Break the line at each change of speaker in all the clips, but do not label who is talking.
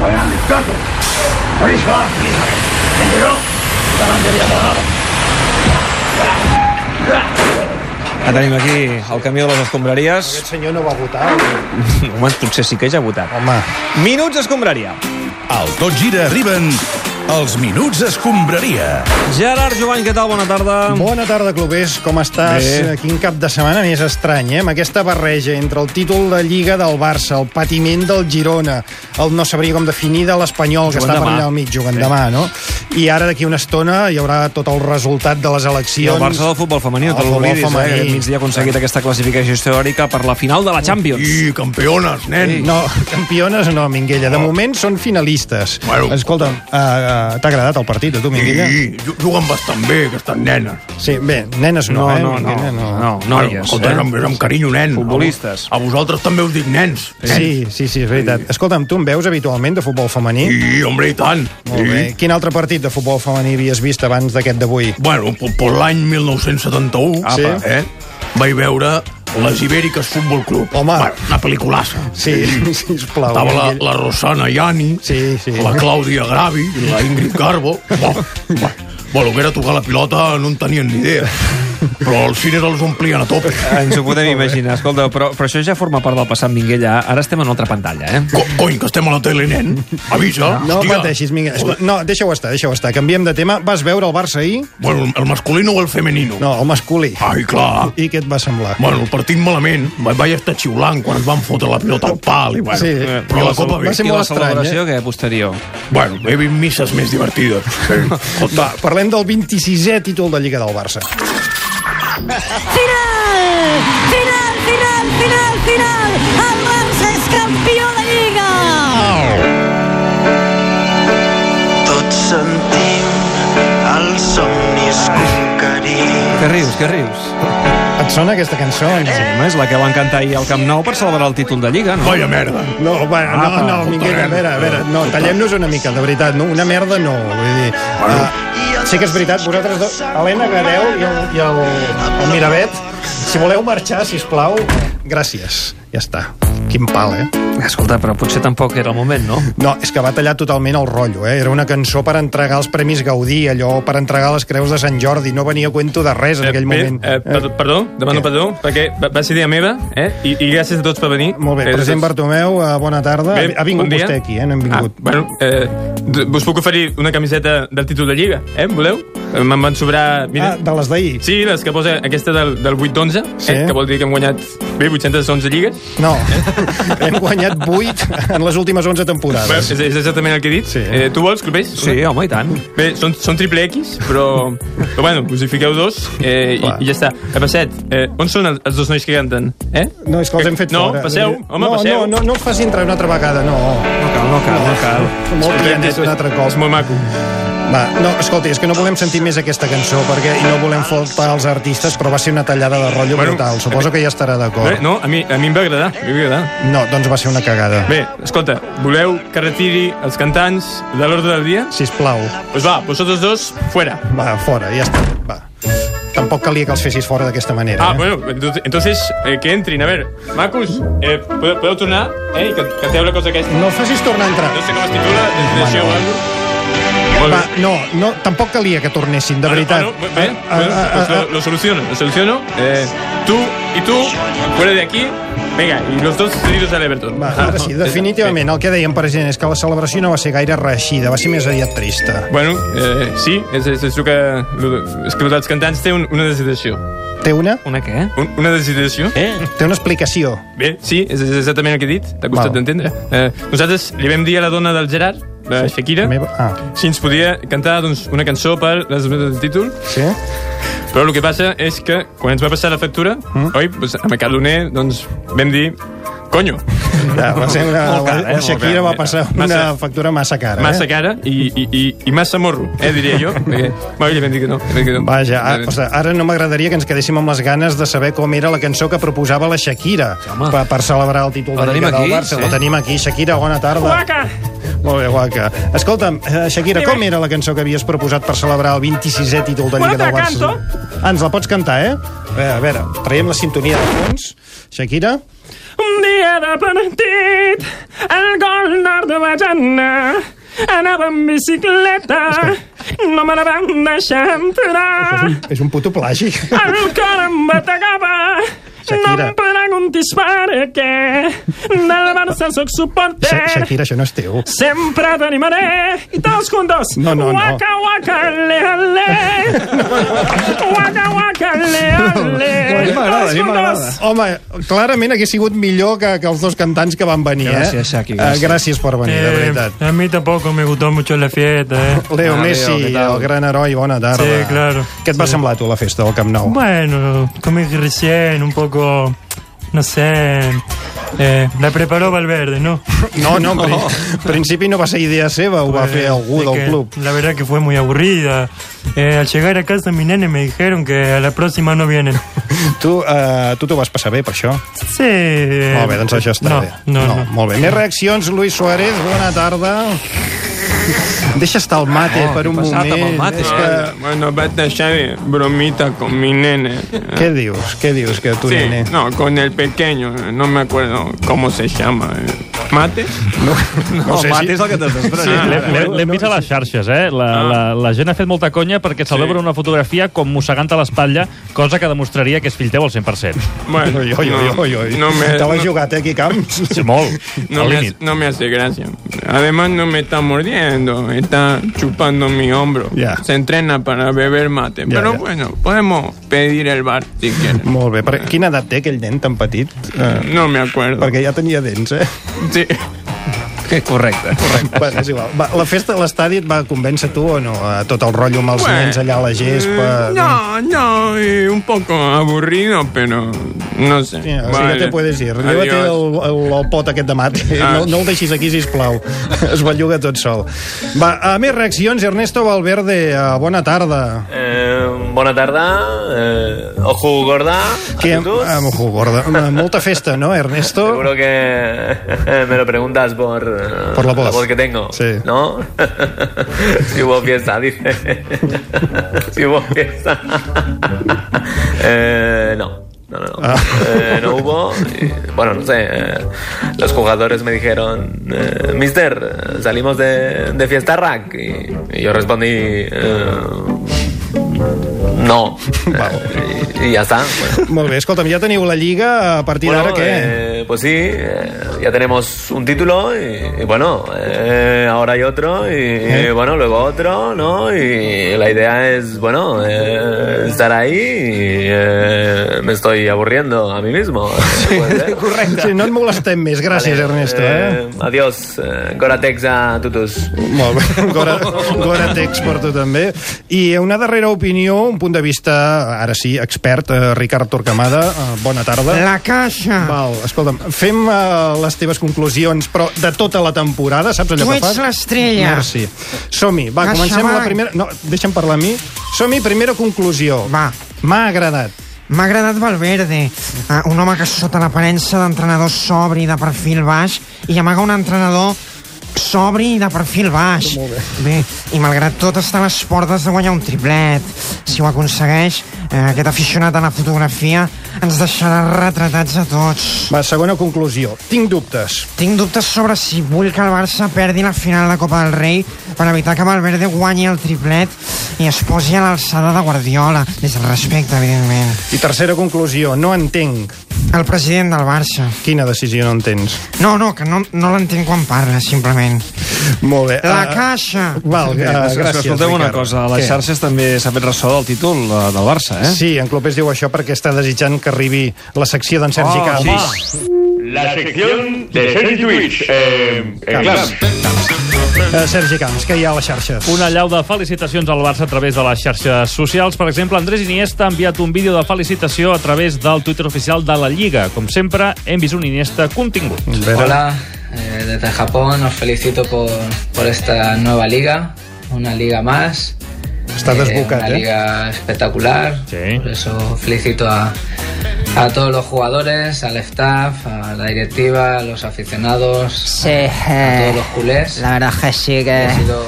around his country. Pretty sharp, anyway. And you know, I'm going to
Ja tenim aquí el camió de les escombraries.
Aquest senyor no va votar. o-
Home, potser sí que ja ha votat.
Home,
Minuts escombraria.
Al Tot Gira arriben els Minuts Escombraria.
Gerard Jovany, què tal? Bona tarda.
bona tarda, clubers. Com estàs? Eh,
Bé.
Quin cap de setmana més estrany, eh? Amb aquesta barreja entre el títol de Lliga del Barça, el patiment del Girona, el no sabria com definir de l'Espanyol, que
Jugant
està per
demà.
allà al mig jugant demà, no? I ara, d'aquí una estona, hi haurà tot el resultat de les
I
eleccions.
el Barça del futbol femení, no
El
te
futbol
l'oblidis, eh?
femení.
que Aquest migdia ha aconseguit aquesta classificació històrica per la final de la Champions.
campiones, nen.
No, campiones no, Minguella.
Oh.
De moment són finalistes.
Bueno.
Escolta'm, uh, uh, t'ha agradat el partit, a tu, Minguella?
juguen bastant bé, aquestes nenes.
Sí, bé, nenes no,
No,
eh?
no, no,
Minguella,
no, noies. eh?
amb carinyo, nen.
Futbolistes.
A vosaltres també us dic nens.
Sí, sí, sí, és veritat. Escolta'm, tu em veus habitualment de futbol femení?
I, home, i tant.
Molt bé. Quin altre partit de futbol femení havies vist abans d'aquest d'avui? Ah,
Bueno, per, per l'any 1971
Ah,
Sí.
eh, vaig veure les Ibèriques Futbol Club.
Home.
Bueno, una pel·liculassa.
Sí, sisplau.
Estava la, la Rosana Yani,
Sí, sí.
la Clàudia Gravi i la Ingrid Garbo. Bo, bo. Bueno, que era tocar la pilota no en tenien ni idea. Però els cines els omplien a tope.
Ens ho podem imaginar. Escolta, però, però això ja forma part del passat, Minguella. Ara estem en una altra pantalla, eh?
Co Cony, que estem a la tele, nen. Avisa.
No
hòstia.
pateixis, Minguella. Escolta, No, deixa-ho estar, deixa-ho estar. Canviem de tema. Vas veure el Barça ahir?
Bueno, el masculino o el femenino?
No, el masculí.
Ai, clar.
I què et va semblar?
Bueno, el partit malament. Va- Vaig estar xiulant quan es van fotre la pilota al pal. I, bueno,
Sí.
Però la copa bé.
Va ser
eh, I
molt
la
estrany, eh?
eh?
celebració, què, posterior?
Bueno, he vist misses més divertides.
Va, parlem del 26è títol de Lliga del Barça.
Final! Final, final, final, final! El Barça és campió de Lliga!
Tots sentim els somnis conquerits.
Què rius, què rius?
Et sona aquesta cançó?
Sí, home, és la que van cantar ahir al Camp Nou per celebrar el títol de Lliga, no?
Vaya merda.
No, bueno, Ah, no, no, Minguella, a veure, a veure, no, tallem-nos una mica, de veritat, no, una merda no, vull dir... Uh, sí que és veritat, vosaltres dos, Helena Gadeu i el, i el, el Miravet, si voleu marxar, si us plau, gràcies, ja està. Quin pal, eh?
Escolta, però potser tampoc era el moment, no?
No, és que va tallar totalment el rotllo, eh? Era una cançó per entregar els Premis Gaudí, allò per entregar les creus de Sant Jordi, no venia a cuento de res en aquell
Bé,
moment.
Eh, per, perdó, demano
Què?
perdó, perquè va, va ser idea meva, eh? I, I gràcies a tots per venir.
Molt bé,
Eh,
president
tots-
Bartomeu, eh, bona tarda.
Bé,
ha vingut
bon dia.
vostè aquí, eh? No hem vingut.
Ah, bueno, eh, d- us puc oferir una camiseta del títol de Lliga, eh? Voleu? Eh, Me'n van sobrar... Mira.
Ah, de les d'ahir?
Sí, les que posa aquesta del, del 8 d'11, eh?
Sí.
que vol dir que hem guanyat bé 811 lligues.
No, hem guanyat 8 en les últimes 11
Eh? Bé,
temporades.
és, és exactament el que he dit.
Sí.
Eh, tu vols, clubers?
Sí, home, i tant.
Bé, són, són triple X, però, però bueno, us hi fiqueu dos eh, i,
Clar.
i ja està. Eh, Passet, eh, on són els, els dos nois que canten? Eh?
No, és que els hem fet
no,
fora.
passeu, home,
eh, no,
passeu.
No, no, no els faci entrar una altra vegada, no.
No cal, no cal, no cal.
Som Molt pianet un altre
És
cop.
molt maco.
Va, no, escolti, és que no volem sentir més aquesta cançó perquè i no volem faltar als artistes, però va ser una tallada de rotllo
Ah, Bueno, eh,
brutal. Suposo que ja estarà
Bé,
d'acord.
no, a mi, a mi em va agradar, a mi em va agradar.
No, doncs va ser una cagada.
Bé, escolta, voleu que retiri els cantants de l'ordre del dia?
Sisplau,
Doncs va, vosaltres dos, fuera.
va, fora, ja està. Va. Tampoc calia que els fessis fora d'aquesta manera.
Ah,
eh?
bueno, ento- entonces, eh, que entrin. A ver, Macus, eh, podeu, podeu tornar, eh, i que, que té la cosa aquesta.
No el facis tornar a entrar.
No sé com es titula, destination o alguna
eh? Va, no, no, tampoc calia que tornessin, de veritat.
Bueno, ve- ve-
Ah, ah, ah,
pues
ah.
lo, lo soluciono, lo soluciono. Eh, tú y tú, fuera de aquí. Venga, y los dos cedidos al Everton.
Va,
Ah,
ara sí, definitivament, el que dèiem, president, és que la celebració no va ser gaire reeixida, va ser més aviat trista.
Bueno, eh, sí, és, és, és, el que, el- és que els cantants té un, una desideració.
Té una?
Una què?
Un, una desideració? Eh?
Té una explicació.
Bé, sí, és, és exactament el que he dit, t'ha
Val.
costat d'entendre. Eh, nosaltres li vam dir a la dona del Gerard, la Shakira,
Meva... Ah,
si ens podia cantar doncs, una cançó per les del títol,
sí?
però el que passa és que quan ens va passar la factura,
Mm.
oi, doncs, amb el Cardoner, doncs vam dir, conyo,
Ja, Ah, va ser una...
Molt cara,
la-
eh?
la Shakira va
Molt cara.
passar una
Massa-
factura massa cara,
massa
eh?
cara i, i, i, i massa morro, eh, diria jo. Perquè, bueno, i li vam dir que no. li vam dir que no.
Vaja, ara, o sigui, ara no m'agradaria que ens quedéssim amb les ganes de saber com era la cançó que proposava la Shakira
Home.
per, per celebrar el títol
La
de Lliga
tenim aquí,
del Barça.
sí.
La tenim aquí. Shakira, bona tarda. Guaca! Molt bé, guaca. Escolta'm, eh, Shakira, com era la cançó que havies proposat per celebrar el 26è títol de Lliga del Barça? eh? Ah, ens la pots cantar, eh? A veure, a veure, traiem la sintonia de fons. Shakira?
Un dia de partit, el gol nord de Bajana. Anava amb bicicleta, no me la van deixar entrar.
És un puto plagi.
El cor em bategava, no
Shakira.
em preguntis per què. Del Barça sóc
Sha-
suporter,
Shakira, això no és teu.
Sempre t'animaré i tots juntos.
No, no, no.
Waka, waka, le, le. Waka, waka, le, le.
No, a mi m'agrada, a mi m'agrada.
Home, clarament hagués sigut millor que, que els dos cantants que van venir, eh?
Gràcies, Shaki, gràcies.
Eh, gràcies per venir, de veritat.
Eh, a mí tampoco me gustó mucho la fiesta, ¿eh?
Leo
Ah, Leo,
Messi,
què tal?
el gran heroi, bona tarda.
Sí, claro.
Què et va semblar a tu la festa del Camp Nou?
Bueno, comí recién, un poco, no sé, eh, la preparó Valverde, ¿no?
No, no, en pri- principi no va ser idea seva, ho va
Eh,
fer algú
de
del
que
club.
La verdad que fue muy aburrida. Eh, al llegar a casa mis nenes me dijeron que a la próxima no vienen.
Tu eh, tu t'ho vas passar bé, per això?
Sí. eh,
Molt bé, doncs això està
no,
bé.
No, no.
Molt bé. Més reaccions, Luis Suárez, bona tarda. Deixa estar el mate per un
Oh, passat
moment.
amb el mate?
És que...
Bueno, vaig deixar de eh, bromita con mi nene.
Què dius? Què dius que tu,
Sí,
nene?
no, con el pequeño, no me acuerdo cómo se llama. eh. ¿Mate?
No,
sé
sé
si-
mate és el que t'has d'esperar.
Sí,
Sí,
l'he-
L'he l'hem vist a les xarxes, eh? La,
Ah.
la, la gent ha fet molta conya perquè celebra una fotografia com mossegant a l'espatlla, cosa que demostraria que és fill teu al 100%.
Bueno,
Oi, oi, oi, oi, oi.
no me...
Te l'has
no-
jugat, eh, aquí, Camps?
Sí, molt,
No
al
me, hace,
límit.
no me hace gracia. Además no me está mordiendo, está chupando mi hombro.
Ya.
Se entrena para beber mate.
Ya,
Pero
ya.
bueno, podemos pedir el bar si quieren.
Molt bé. Per... Quina edat té aquell nen tan petit? Eh,
No me acuerdo.
perquè ja tenia dents, eh?
Sí.
Que correcte.
Bueno, és igual. Va, la festa a l'estadi et va convèncer tu o no? Eh, Tot el rotllo amb els
Bueno,
nens allà a la gespa... doncs.
eh, No, no, eh, un poco aburrido, pero no sé.
Mira, o sigui,
Vale.
ja te puedes ir.
Adiós.
Lleva't el, el, el pot aquest de mate.
Ah.
No, no el deixis aquí, sisplau. Es belluga tot sol. Va, a més reaccions, Ernesto Valverde, eh, bona tarda.
Eh, bona tarda, eh, ojo gorda,
Que,
a todos.
amb ojo, gorda. Una- Ah, Molta festa, no, Ernesto?
Seguro que me lo preguntas por, eh,
Por la voz.
que tengo,
Sí.
¿no? si hubo fiesta, dice. si hubo fiesta. eh, no. No, no, no.
Ah.
Eh, no hubo. y, bueno, no sé. eh, los jugadores me dijeron, eh, Mister, salimos de, de fiesta rack. Y, y yo respondí, eh, no. y, y ya está. pues. Bueno.
Molt bé, escolta'm, ja teniu la Lliga, a partir d'ara què?
eh, pues sí, eh, ya tenemos un título y, y bueno, eh, ahora hay otro y,
Eh.
y bueno, luego otro, ¿no? Y la idea es, bueno, eh, estar ahí y eh, me estoy aburriendo a mí mismo.
Eh.
Puede ser.
Correcte. Sí, no et molestem més, gràcies,
eh. Vale,
Ernesto. Eh?
eh, Adiós, eh, Goratex a tutus.
Molt bé, Gora, Gora Tex per tu també. I una darrera opinió, un punt de vista, ara sí, expert, eh, Ricard Torquemada, eh, bona tarda.
La caixa.
Val, escolta'm, fem eh, les teves conclusions, però de tota la temporada, saps allò
Tu
que
ets
fas?
l'estrella.
Merci. Som-hi, va,
Caixa
comencem la
Banc.
primera... No, deixa'm parlar a mi. Som-hi, primera conclusió.
Va.
M'ha agradat.
M'ha agradat Valverde, eh, un home que sota l'aparença d'entrenador sobri de perfil baix i amaga un entrenador sobri i de perfil baix. Bé. i malgrat tot està a les portes de guanyar un triplet. Si ho aconsegueix, eh, aquest aficionat a la fotografia ens deixarà retratats a tots.
Va, segona conclusió. Tinc dubtes.
Tinc dubtes sobre si vull que el Barça perdi la final de la Copa del Rei per evitar que Valverde guanyi el triplet i es posi a l'alçada de Guardiola, des del respecte, evidentment.
I tercera conclusió, no entenc.
El president del Barça.
Quina decisió no entens?
No, no, que no, no l'entenc quan parla, simplement.
Molt bé.
La
Ah,
caixa!
Val,
Ah,
eh, gràcies,
Escolteu una
Ricard.
cosa, a les
Què?
xarxes també s'ha fet ressò del títol eh, del Barça, eh?
Sí, en Clopés diu això perquè està desitjant que arribi la secció d'en Sergi
Oh,
Camps.
La sección de Sergi Lluís. Eh, eh, claro.
Eh, Sergi Camps, que hi ha a les xarxes?
Una llau de felicitacions al Barça a través de les xarxes socials. Per exemple, Andrés Iniesta ha enviat un vídeo de felicitació a través del Twitter oficial de la Lliga. Com sempre, hem vist un Iniesta contingut.
Hola, eh, desde Japón os felicito por, por esta nueva liga, una liga más.
Está desbocat,
Una
¿eh?
liga espectacular.
Sí.
Por eso felicito a, a todos los jugadores, al staff, a la directiva, a los aficionados,
eh,
Sí,
a todos los culés.
verdad que sí
Ha sido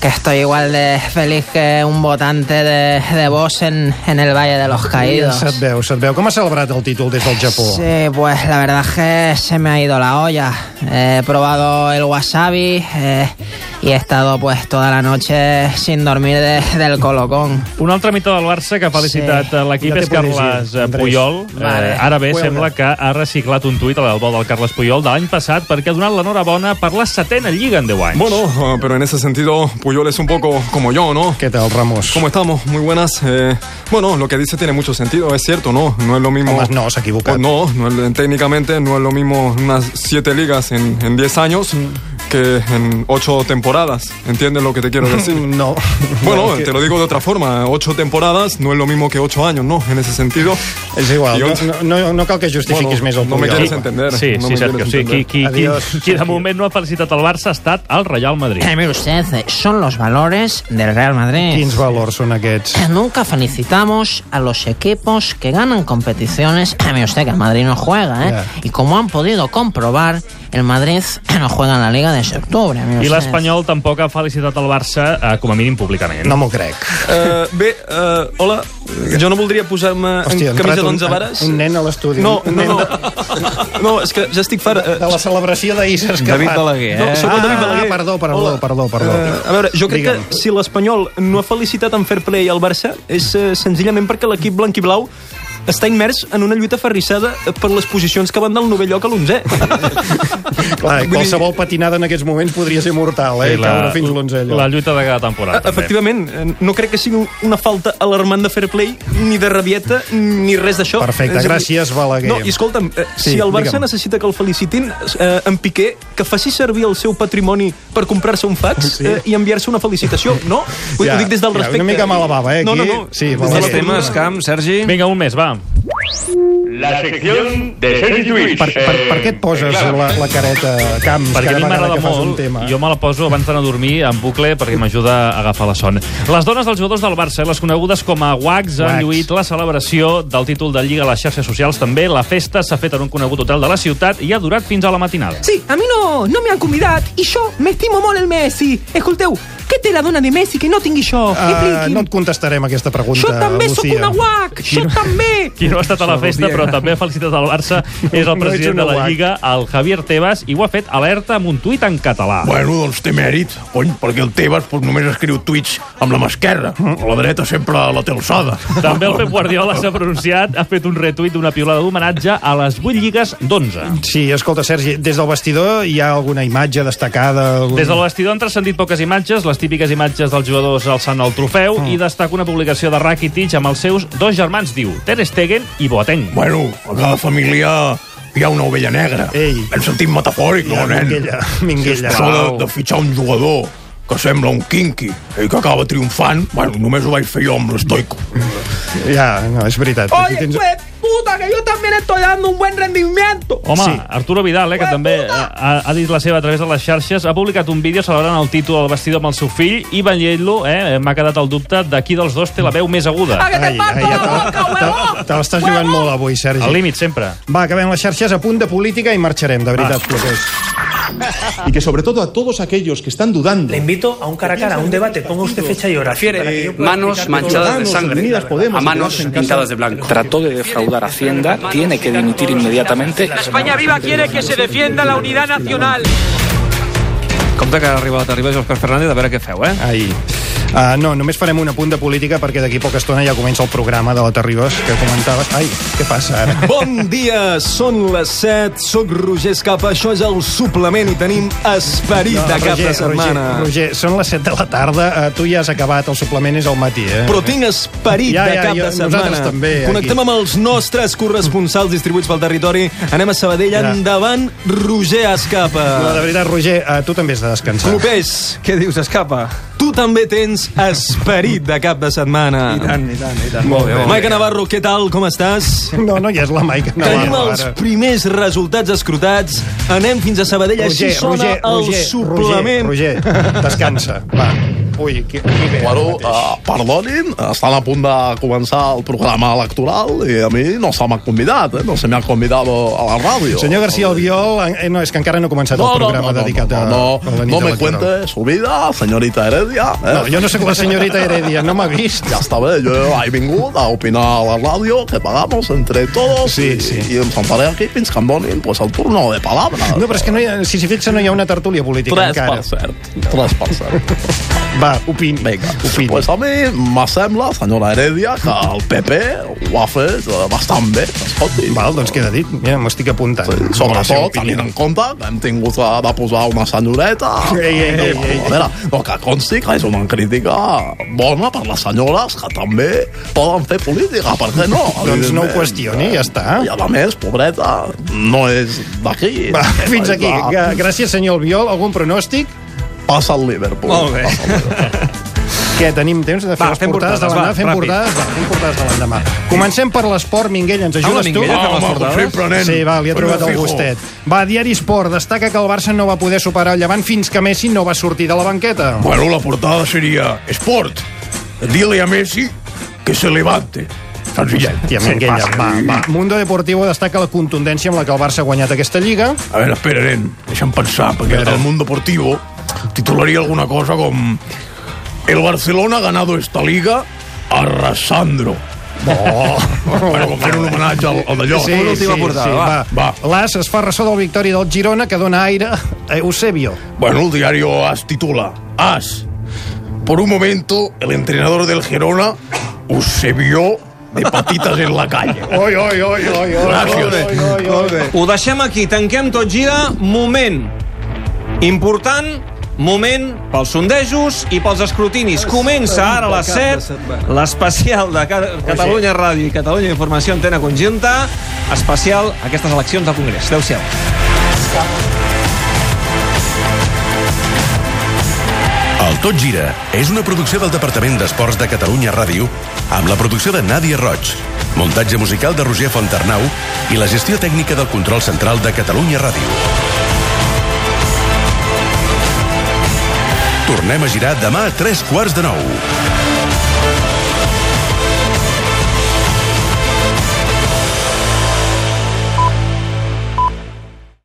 que estoy igual de feliz que un votante de, de vos en, en el Valle de los Caídos.
Se't veu, se't veu. Com ha celebrat el títol des del Japó?
Sí, pues la verdad es que se me ha ido la olla. Eh, He probado el wasabi eh, y he estado pues toda la noche sin dormir de- del colocón.
Un altre mite del Barça que ha felicitat
Sí.
sí. l'equip
Ja
és
t'he podrit,
Carles eh,
Andrés.
Puyol.
Vale.
Eh, ara bé,
Puyol.
sembla que ha reciclat un tuit a l'albol del Carles Puyol de l'any passat perquè ha donat l'enhorabona per la setena Lliga en 10 anys.
Bueno, eh, pero en ese sentido, Puyol es un poco como yo, ¿no?
¿Qué tal, Ramos?
¿Cómo estamos? Muy buenas. Eh, bueno, lo que dice tiene mucho sentido, es cierto, ¿no? No es lo mismo. Eh,
Tomás, no, se ha equivocado.
no, no es- técnicamente no es lo mismo unas siete ligas en, en 10 años que en ocho temporadas. ¿Entiendes lo que te quiero decir?
no.
Bueno,
No, es que-
te lo digo de otra forma. Ocho temporadas no es lo mismo que ocho años, ¿no? En ese sentido.
És igual,
Y
no,
ocho-
no, no cal que justifiquis
Bueno,
més el
no me
Puyol.
quieres entender.
Sí,
No
sí,
me
Sergio.
quieres
Sí, qui,
entender.
qui, qui,
Adiós,
qui de moment no ha felicitat el Barça ha estat el Real Madrid.
Eh, mire usted, eh, son los valores del Real Madrid. Eh,
Quins valors són aquests?
Nunca felicitamos a los equipos que ganan competiciones. Eh, mire usted que el Madrid no juega, ¿eh?
Ya.
Y como han podido comprobar, el Madrid eh, no juega en la Liga desde octubre. mire
I
usted.
l'Espanyol tampoc ha felicitat el Barça, eh, com a mínim públicament.
No m'ho crec.
Eh, bé, eh, hola, jo no voldria posar-me en
Hòstia, ha
camisa
entrat un-
d'onze vares.
un nen a l'estudi.
No,
Un
no,
nen
no. No, és que ja estic fart. eh,
De la celebració d'ahir s'ha escapat.
David Balaguer,
No,
eh?
sóc el
Ah,
David Balaguer. perdó, perdó, perdó, perdó.
Eh, a veure, jo crec Digue'm. que si l'Espanyol no ha felicitat en fair play al Barça és eh, senzillament perquè l'equip blanquiblau està immers en una lluita ferrissada per les posicions que van del novè lloc a l'onzè.
Clar, Ah, qualsevol patinada en aquests moments podria ser mortal, eh?
Sí,
I
la-
caure fins
doncs
l'11 allò.
La lluita de cada temporada, també.
Efectivament, eh, no crec que sigui una falta alarmant de fair play, ni de rabieta, ni res d'això.
Perfecte,
És a dir,
gràcies, Balaguer.
No, i escolta'm, eh,
Sí,
sí, si el Barça
digue'm.
necessita que el felicitin, eh, en Piqué, que faci servir el seu patrimoni per comprar-se un fax
Sí.
sí. eh, i enviar-se una felicitació, no? Ho, ja, ho dic des del
ja,
respecte.
Una mica mala bava, eh? Aquí.
No, no, no.
Sí,
Des de la tribuna.
camp, Sergi. Vinga, un més, va.
La sección de Sergi Lluís. Eh,
Per, per, per què et poses la, la careta Camps
Perquè a
cada
mi
vegada
m'agrada
que fas un
molt,
tema?
jo me la poso abans d'anar a dormir en bucle perquè m'ajuda a agafar la son. Les dones dels jugadors del Barça, les conegudes com a Wags, han
Wags.
lluït la celebració del títol de Lliga a les xarxes socials també. La festa s'ha fet en un conegut hotel de la ciutat i ha durat fins a la matinada.
Sí, a mi no, no m'hi han convidat i jo m'estimo molt el Messi. Escolteu, què té la dona de Messi que no tingui jo?
Ah,
Expliqui'm.
no et contestarem aquesta pregunta,
jo també
Lucía.
sóc una guac, jo també.
Qui no ha estat a la festa, però també ha felicitat el Barça, és
No
el
ets
president
una
de la
guac.
Lliga, el Javier Tebas, i ho ha fet alerta amb un tuit en català.
Bueno, doncs té mèrit, cony, perquè el Tebas pues, només escriu tuits amb la mà esquerra. La dreta sempre la té alçada.
També el Pep Guardiola s'ha pronunciat, ha fet un retuit d'una piulada d'homenatge a les 8 lligues d'11.
Sí, escolta, Sergi, des del vestidor hi ha alguna imatge destacada? Algun...
Des del vestidor han transcendit poques imatges, les típiques imatges dels jugadors alçant el trofeu,
Ah.
i destaca una publicació de Rakitic amb els seus dos germans, diu, Ter Stegen i Boateng.
Bueno, a cada família hi ha una ovella negra. Ei. En sentit metafòric, no, nen?
Minguella, Minguella.
Si això de, de fitxar un jugador que sembla un quinqui i que acaba triomfant, bueno, només ho vaig fer jo amb l'estoico.
Ja, no, és veritat.
Oye, pues puta, que yo también estoy dando un buen rendimiento.
Home, sí. Arturo Vidal, eh, que també eh, ha, ha dit la seva a través de les xarxes, ha publicat un vídeo celebrant el títol del vestidor amb el seu fill i veient-lo, eh, m'ha quedat el dubte de qui dels dos té la veu més aguda.
Ai, ai, ja te, te, te l'estàs jugant molt avui, Sergi.
Al límit, sempre.
Va, acabem les xarxes a punt de política i marxarem, de veritat. Ah.
y que sobre todo a todos aquellos que están dudando. Le invito a un cara a cara, a un debate. Ponga usted fecha y hora.
manos manchadas de sangre, a manos pintadas de blanco. Trató de defraudar Hacienda, tiene que dimitir inmediatamente.
España Viva quiere que se defienda la unidad nacional.
Compte que arriba, arriba Òscar Fernández a veure què feu, eh?
Ai. Uh, no, només farem un apunt de política perquè d'aquí poca estona ja comença el programa de la Terribas que comentaves. Ai, què passa ara?
Bon dia, són les 7, sóc Roger Escapa, això és el suplement i tenim esperit
No,
de cap
Roger,
de setmana.
Roger, Roger, són les 7 de la tarda, uh, tu ja has acabat, el suplement és al matí. Eh?
Però tinc esperit
ja,
de
ja,
cap
jo,
de setmana.
Nosaltres també.
Connectem
aquí.
amb els nostres corresponsals distribuïts pel territori. Anem a Sabadell,
Ja.
endavant, Roger Escapa.
No, de veritat, Roger, uh, tu també has de descansar.
Clopés. Què dius, Escapa? Tu també tens esperit de cap de setmana. I tant, i tant, i tant.
Molt bé, molt bé.
Maica Navarro, què tal? Com estàs?
No, no, ja és la Maica Navarro,
Tenim els
ara.
primers resultats escrutats. Anem fins a Sabadell, així sona el suplement.
Roger, Roger, descansa, va. Ui, qui,
Bueno, uh, perdonin, estan a punt de començar el programa electoral i a mi no se m'ha convidat, eh? no se m'ha convidat a la ràdio.
Senyor García Albiol, eh, no, és que encara no ha començat el programa dedicat a...
no,
a
no,
la nit
no me
electoral.
cuente su vida, señorita Heredia. Eh?
No, jo no sóc la senyorita Heredia, no m'ha vist.
Ja està bé, jo he vingut a opinar a la ràdio, que pagamos entre todos, sí, i, sí. i em sentaré aquí fins que em donin pues, el turno de palabra.
No, però és que no hi ha, si s'hi fixa no hi ha una tertúlia política
Tres
encara.
per cert. Tres per cert.
Va, opin.
Vinga, opin. Pues a mi m'assembla, senyora Heredia, que el PP ho ha fet eh, bastant bé, escolti.
Val, doncs queda dit. Mira, m'ho estic apuntant.
Sí, sobretot, tenint en compte que hem tingut de, de posar una senyoreta...
Ei, ei, ei,
no,
ei.
A veure, no, que consti que és una crítica bona per les senyores que també poden fer política, per què no?
Doncs no ho
Evidentment.
qüestioni, ja està.
I a més, pobreta, no és d'aquí.
Va, Eh, fins
És
aquí.
de-
Gra- Gràcies, senyor Albiol. Algun pronòstic?
Passa el Liverpool.
Molt bé. Què, tenim temps de fer
Va,
les
fem
portades, de
portades,
l'endemà?
va,
Fem
ràpid.
portades, va, fem portades de l'endemà. Comencem per l'esport, Minguella, ens ajudes
Home,
tu?
Minguella, fem les Home, portades? sempre, nen.
Sí, va, li ha
Però
trobat
no
el
fijo.
gustet. Va, Diari Esport, destaca que el Barça no va poder superar el Llevant fins que Messi no va sortir de la banqueta.
Bueno, la portada seria Sport. Dile a Messi que se levante. Senzillet.
Hòstia, Minguella, va, va. Mundo Deportivo destaca la contundència amb la que el Barça ha guanyat aquesta Lliga.
A veure, espera, nen, deixa'm pensar, perquè el món deportivo titularia alguna cosa com El Barcelona ha ganado esta liga arrasandro. Oh, bueno, com fent un homenatge al, al d'allò.
Sí, sí, sí, va.
va.
L'As es fa ressò del victòria del Girona, que dona aire a Eusebio.
Bueno, el diario AS titula AS. Por un momento, el entrenador del Gerona se vio de patitas en la calle.
Oi, oi, oi, oi, oi.
Gràcies.
Ho deixem aquí, tanquem tot gira. Moment important, moment pels sondejos i pels escrutinis. Comença ara a les 7 l'especial de Ca- Catalunya Ràdio i Catalunya Informació Antena Conjunta, especial a aquestes eleccions del Congrés. Adéu-siau.
El Tot Gira és una producció del Departament d'Esports de Catalunya Ràdio amb la producció de Nàdia Roig, muntatge musical de Roger Fontarnau i la gestió tècnica del control central de Catalunya Ràdio. Tornem a girar demà a tres quarts de nou.